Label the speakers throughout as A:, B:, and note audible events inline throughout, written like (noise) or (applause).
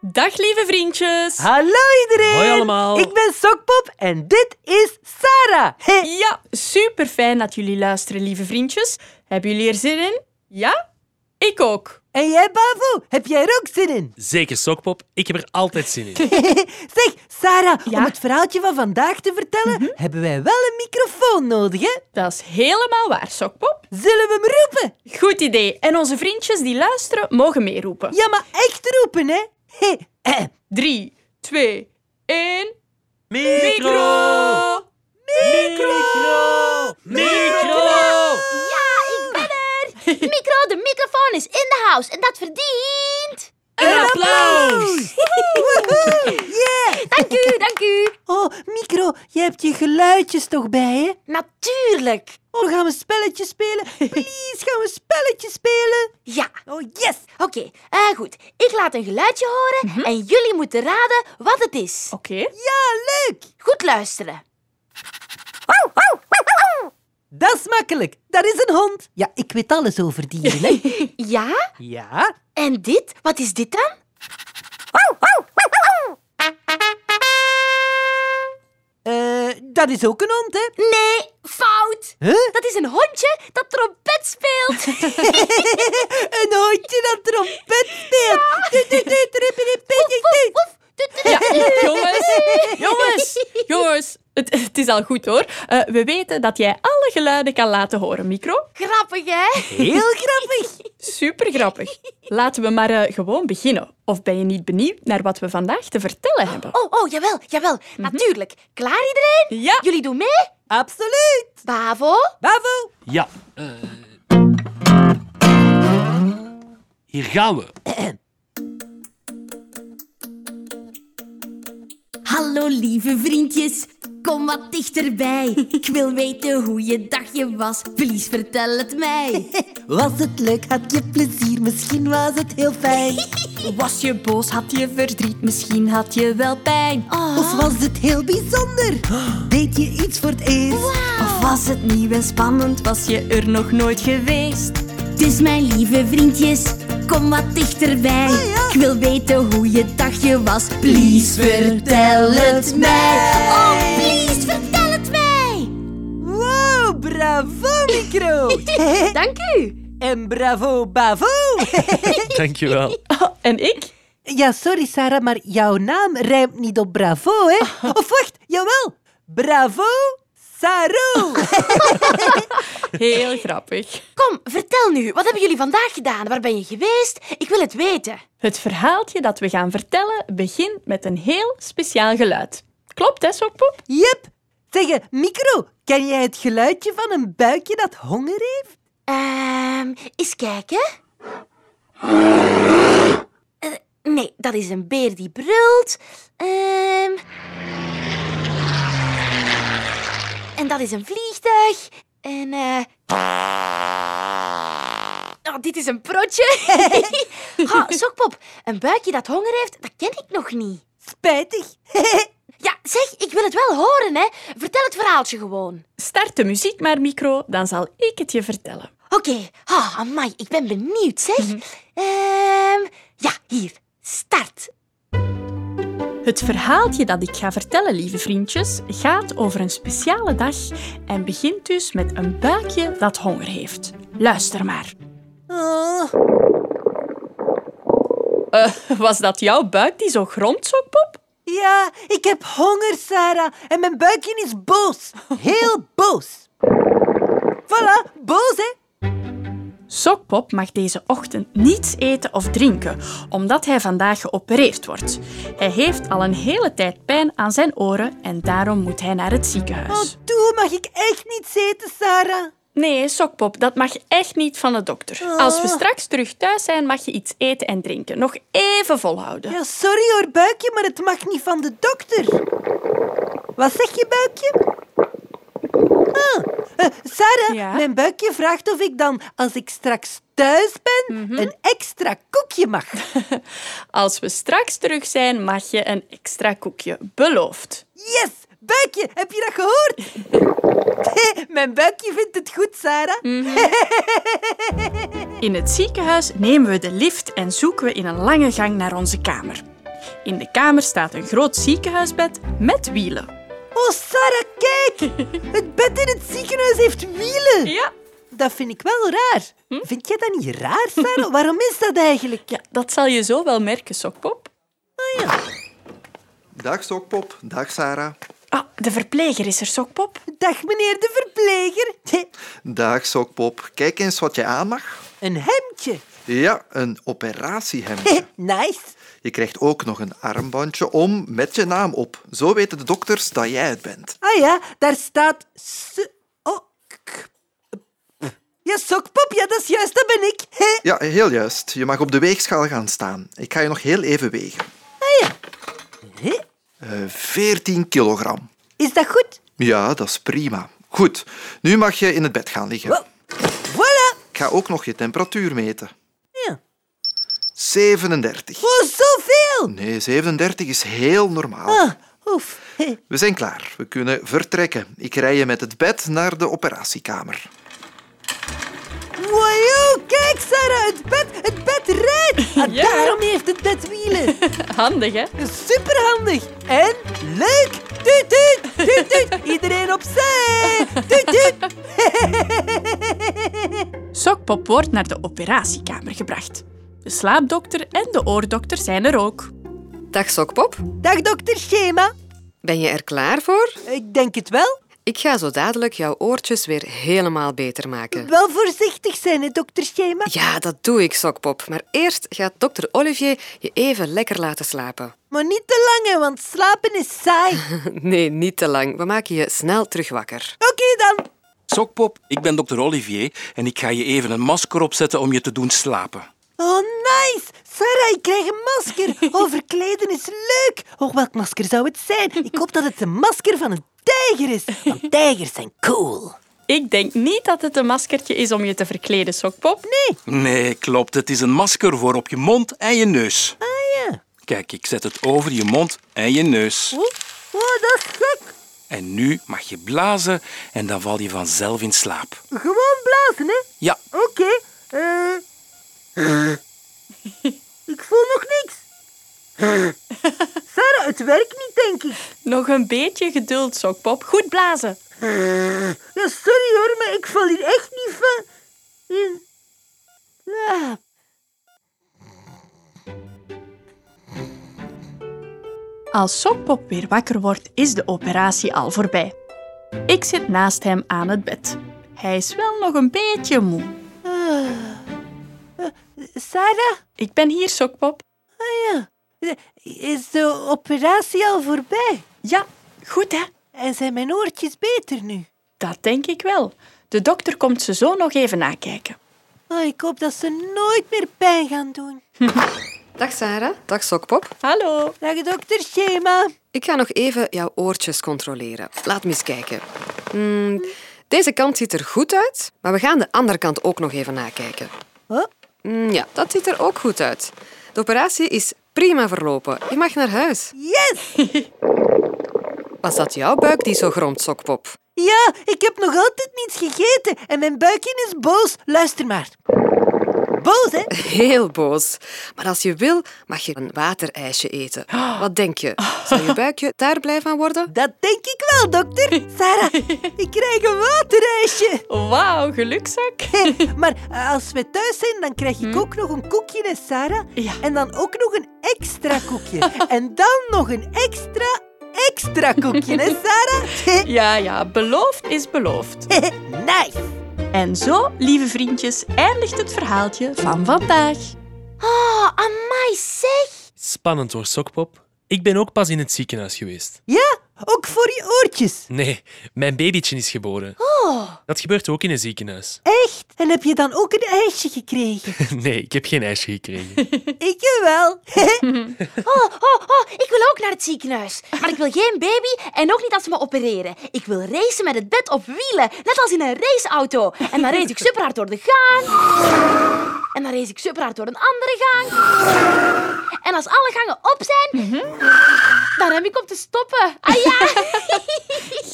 A: Dag lieve vriendjes.
B: Hallo iedereen!
C: Hoi allemaal.
B: Ik ben Sokpop en dit is Sarah. Hey.
A: Ja, super fijn dat jullie luisteren, lieve vriendjes. Hebben jullie er zin in? Ja? Ik ook.
B: En jij, Bavo, heb jij er ook zin in? (laughs)
C: Zeker Sokpop, ik heb er altijd zin in.
B: zeg, Sarah,
A: Ja?
B: om het verhaaltje van vandaag te vertellen, hebben wij wel een microfoon nodig, hè?
A: Dat is helemaal waar, Sokpop.
B: Zullen we hem roepen?
A: Goed idee. En onze vriendjes die luisteren mogen meeroepen.
B: Ja, maar echt roepen, hè? Hey. eh,
A: Drie, twee, één.
C: Micro! Micro!
D: (laughs) Micro, de microfoon is in de house en dat verdient.
A: Een applaus!
B: (laughs) Woehoe. Yeah!
D: Dank u, dank u.
B: Oh, micro, jij hebt je geluidjes toch bij, hè?
D: Natuurlijk.
B: Oh, gaan we een spelletje spelen? Please, gaan we een spelletje spelen?
D: Ja,
B: Oh, yes!
D: oké. Eh, goed, ik laat een geluidje horen en jullie moeten raden wat het is.
A: Oké.
B: Ja, leuk!
D: Goed luisteren.
B: Dat is makkelijk. Dat is een hond. Ja, ik weet alles over dieren, hè?
D: Ja?
B: Ja?
D: En dit? Wat is dit dan?
B: Eh, dat is ook een hond, hè?
D: Nee, fout.
B: Huh?
D: Dat is een hondje dat trompet speelt.
B: Een hondje dat trompet speelt. Doet, doet, doet, rip, rip, rip, rip, rip.
A: Ja, jongens, jongens, jongens. Het, het is al goed hoor. Eh, we weten dat jij alle geluiden kan laten horen, Micro.
D: Grappig,
B: (laughs)
D: hè?
B: Heel grappig.
A: Super grappig. Laten we maar eh, gewoon beginnen. Of ben je niet benieuwd naar wat we vandaag te vertellen hebben?
D: Oh, oh, jawel, jawel. Natuurlijk. Klaar iedereen?
A: Ja.
D: Jullie doen mee?
B: Absoluut.
D: Bravo.
B: Bravo.
C: Ja. eh. Hier gaan we.
E: Hallo lieve vriendjes, kom wat dichterbij. Ik wil weten hoe je dagje was, please vertel het mij.
D: (laughs)
B: Was het leuk? Had je plezier? Misschien was het heel fijn.
E: Was je boos, had je verdriet, misschien had je wel pijn.
B: Of was het heel bijzonder? (gasps) Deed je iets voor het eerst?
E: Of was het nieuw en spannend, was je er nog nooit geweest? Dus mijn lieve vriendjes, kom wat dichterbij. Ik wil weten hoe je dagje was, please vertel het mij.
D: Oh, please, vertel het mij.
B: Wow, bravo, (laughs) micro.
D: Dank u.
B: en bravo, bavo.
C: Dankjewel.
A: Oh, en ik?
B: Ja, sorry Sarah, maar jouw naam rijmt niet op bravo, hè? Of wacht, jawel. Bravo, Saro.
A: Heel (laughs) grappig.
D: Kom, vertel nu. Wat hebben jullie vandaag gedaan? Waar ben je geweest? Ik wil het weten.
A: Het verhaaltje dat we gaan vertellen begint met een heel speciaal geluid. Klopt, hè, Sokpoep?
B: Jep. Zeg, eh, micro, ken jij het geluidje van een buikje dat honger heeft?
D: Ehm, eens kijken. Eh, nee, dat is een beer die brult. Ehm. En dat is een vliegtuig. En eh. Oh, dit is een protje. ha, sokpop, een buikje dat honger heeft, dat ken ik nog niet.
B: Spijtig.
D: Ja, zeg, ik wil het wel horen, hè. Vertel het verhaaltje gewoon.
A: Start de muziek maar, Micro, dan zal ik het je vertellen.
D: Oké, ah, amai, ik ben benieuwd, zeg. Ehm, ja, hier, start.
A: Het verhaaltje dat ik ga vertellen, lieve vriendjes, gaat over een speciale dag en begint dus met een buikje dat honger heeft. Luister maar. (laughs)
B: Oh,
A: Was dat jouw buik die zo gromt, Sokpop?
B: ja, ik heb honger, Sarah. En mijn buikje is boos. Heel boos. Voilà, boos, hè?
A: Sokpop mag deze ochtend niets eten of drinken, omdat hij vandaag geopereerd wordt. Hij heeft al een hele tijd pijn aan zijn oren en daarom moet hij naar het
B: Oh,
A: ziekenhuis.
B: toe mag ik echt niet eten, Sarah.
A: Nee, Sokpop, dat mag echt niet van de dokter. Als we straks terug thuis zijn, mag je iets eten en drinken. Nog even volhouden.
B: Ja, sorry hoor, buikje, maar het mag niet van de dokter. Wat zeg je, buikje? Ah, eh, Sarah,
A: Ja?
B: mijn buikje vraagt of ik dan, als ik straks thuis ben,
A: Mhm.
B: een extra koekje mag.
A: (laughs) Als we straks terug zijn, mag je een extra koekje. Beloofd.
B: Yes, buikje, heb je dat gehoord? (laughs) mijn buikje vindt het goed, Sarah.
A: Mm. In het ziekenhuis nemen we de lift en zoeken we in een lange gang naar onze kamer. In de kamer staat een groot ziekenhuisbed met wielen.
B: Oh, Sarah,
A: (laughs)
B: kijk! Het bed in het ziekenhuis heeft wielen.
A: Ja, Hm?
B: Dat vind ik wel raar. Vind jij dat niet raar, Sarah? Waarom is dat eigenlijk?
A: ja dat zal je zo wel merken, Sokpop.
F: Dag Sokpop, dag Sarah.
A: Ah, de verpleger is er, Sokpop.
B: Dag, meneer de verpleger. Hé,
F: Dag Sokpop, kijk eens wat je aan mag.
B: Een hemdje. (laughs)
F: Ja, een operatiehemdje.
B: Nice.
F: Je krijgt ook nog een armbandje om met je naam op. Zo weten de dokters dat jij het bent.
B: Ah ja, daar staat... s- oh, k- p- Ja, sokpop, ja, dat is juist, dat ben ik. (laughs) Hé,
F: Ja, heel juist. Je mag op de weegschaal gaan staan. Ik ga je nog heel even wegen.
B: Ah, hé,
F: Eh, 14 kilogram.
B: Is dat goed?
F: Ja, dat is prima. Goed, nu mag je in het bed gaan liggen.
B: Wow. Voilà.
F: Ik ga ook nog je temperatuur meten.
B: Ja.
F: 37.
B: Oh, zoveel.
F: Nee, 37 is heel normaal.
B: Ah, oef. (laughs) Hé,
F: We zijn klaar. We kunnen vertrekken. Ik rij je met het bed naar de operatiekamer.
B: Wajoe, kijk Sarah, het bed, het bed rijdt. Ah,
A: Ja.
B: Daarom heeft het bed wielen.
A: Handig, hè?
B: Superhandig en leuk. Tuut, tuut, tuut, tuut. Iedereen opzij. Tuut, tuut.
A: Sokpop wordt naar de operatiekamer gebracht. De slaapdokter en de oordokter zijn er ook.
G: Dag Sokpop,
B: Dag dokter Schema.
G: ben je er klaar voor?
B: Ik denk het wel.
G: Ik ga zo dadelijk jouw oortjes weer helemaal beter maken.
B: Wel voorzichtig zijn, hè, dokter Schema.
G: Ja, dat doe ik, Sokpop. Maar eerst gaat dokter Olivier je even lekker laten slapen. (laughs)
B: Maar niet te lang, hè, want slapen is saai.
G: Nee, niet te lang. We maken je snel terug wakker.
B: Oké dan.
H: Sokpop, ik ben dokter Olivier en ik ga je even een masker opzetten om je te doen slapen.
B: Oh, nice. Sarah, ik krijg een masker. Oh, verkleden is leuk. Oh, welk masker zou het zijn? Ik hoop dat het een masker van een tijger is. Want tijgers zijn cool.
A: Ik denk niet dat het een maskertje is om je te verkleden, Sokpop. Nee.
H: Nee, klopt. Het is een masker voor op je mond en je neus.
B: Ah ja.
H: Kijk, ik zet het over je mond en je neus.
B: Oh, oh, dat is gek.
H: En nu mag je blazen en dan val je vanzelf in slaap.
B: Gewoon blazen, hè?
H: Ja,
B: Oké. eh. ik voel nog niks. Sarah, het werkt niet, denk ik.
A: Nog een beetje geduld, Sokpop. Goed blazen.
B: Ja, sorry hoor, maar ik val hier echt niet van. in slaap.
A: Als Sokpop weer wakker wordt, is de operatie al voorbij. Ik zit naast hem aan het bed. Hij is wel nog een beetje moe.
B: Sarah,
A: Ik ben hier, Sokpop.
B: is de operatie al voorbij?
A: Ja, goed hè?
B: En zijn mijn oortjes beter nu?
A: Dat denk ik wel. De dokter komt ze zo nog even nakijken.
B: Oh, ik hoop dat ze nooit meer pijn gaan doen. Oh.
G: Dag Sarah. Dag Sokpop.
A: Hallo.
B: Dag dokter Schema.
G: Ik ga nog even jouw oortjes controleren. Laat me eens kijken. Hmm, deze kant ziet er goed uit, maar we gaan de andere kant ook nog even nakijken.
B: Oh,
G: Hmm, ja, dat ziet er ook goed uit. De operatie is prima verlopen. Je mag naar huis.
B: yes!
G: Was dat jouw buik die zo gromt, Sokpop?
B: Ja, ik heb nog altijd niets gegeten en mijn buikje is boos. Luister maar. Boos, hè?
G: Heel boos. Maar als je wil, mag je een waterijsje eten. Wat denk je? Zal je buikje daar blij van worden?
B: Dat denk ik wel, dokter. Sarah, ik krijg een waterijsje.
A: Wauw, gelukzak.
B: Maar eh, als we thuis zijn, dan krijg ik ook nog een koekje, hè, Sarah?
A: Ja.
B: En dan ook nog een extra koekje. En dan nog een extra, extra koekje, hè, Sarah? (laughs)
A: Ja, ja, beloofd is beloofd.
B: nice.
A: En zo, lieve vriendjes, eindigt het verhaaltje van vandaag.
D: Oh, amai zeg.
C: Spannend hoor, Sokpop. Ik ben ook pas in het ziekenhuis geweest.
B: Ja, ook voor je oortjes.
C: Nee, mijn babytje is geboren. Dat gebeurt ook in een ziekenhuis.
B: Echt? En heb je dan ook een ijsje gekregen?
C: Nee, ik heb geen ijsje gekregen.
B: ik wel.
D: Oh, oh, oh, ik wil ook naar het ziekenhuis. Maar ik wil geen baby en ook niet dat ze me opereren. Ik wil racen met het bed op wielen, net als in een raceauto. En dan race ik superhard door de gang. En dan race ik superhard door een andere gang. En als alle gangen op zijn, dan heb ik op te stoppen. Ah ja,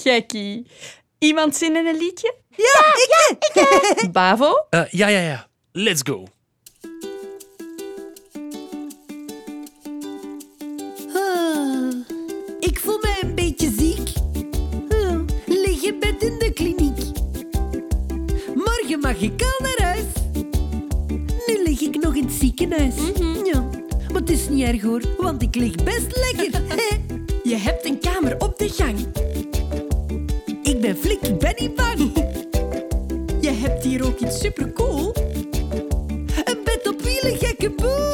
A: Gekkie. Iemand zin in een liedje?
B: Ja,
A: (laughs)
B: ik,
A: Bavo?
C: Eh, ja, ja, ja. Let's go.
B: muis. Ja, maar het is niet erg hoor, want ik lig best lekker. Hè?
A: Je hebt een kamer op de gang.
B: ik ben flink, ik ben niet bang.
A: Je hebt hier ook iets supercool.
B: Een bed op wielen, gekke boel.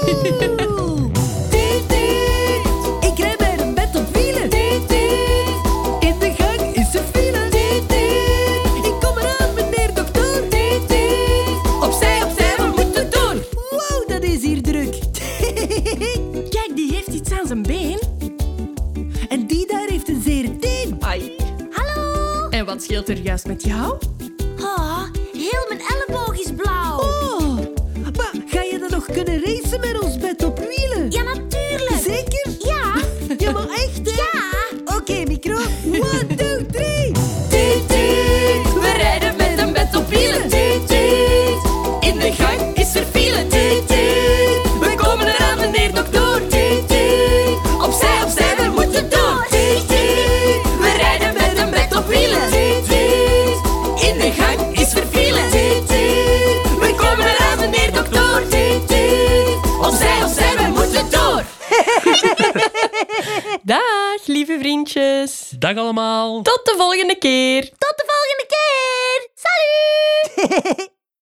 B: Tiet, tiet. Ik rij bij een bed op wielen. Tiet, tiet. In de gang is een file. Tiet, tiet. Ik kom eraan, meneer dokter. Tiet, tiet. Opzij, opzij, we moeten door. Wow, dat is hier druk. (laughs)
A: Kijk, die heeft iets aan zijn been.
B: en die daar heeft een zere teen.
A: Ai. Hallo. En wat scheelt er juist met jou?
D: Ah, heel mijn elleboog is blauw.
B: Oh, maar ga je dan nog kunnen racen met ons bed op wielen?
D: Ja, natuurlijk.
B: Zeker?
D: Ja.
B: Ja, maar echt, hè?
D: Ja.
B: Oké, micro. One, two, three. Tiet, tiet. We rijden met een bed op wielen. Tiet, tiet. In de gang is er file. Tiet, tiet. We komen eraan, meneer dokter. Tiet, tiet. Opzij, opzij, we moeten door. Tiet, tiet. We rijden met een bed op wielen. Tiet, tiet. In de gang is er file. Tiet, tiet. We komen eraan, meneer dokter. Tiet, tiet. Opzij, opzij, we moeten door.
I: Dag, lieve vriendjes.
C: Dag allemaal.
I: Tot de volgende keer.
D: Tot de volgende keer. Salut.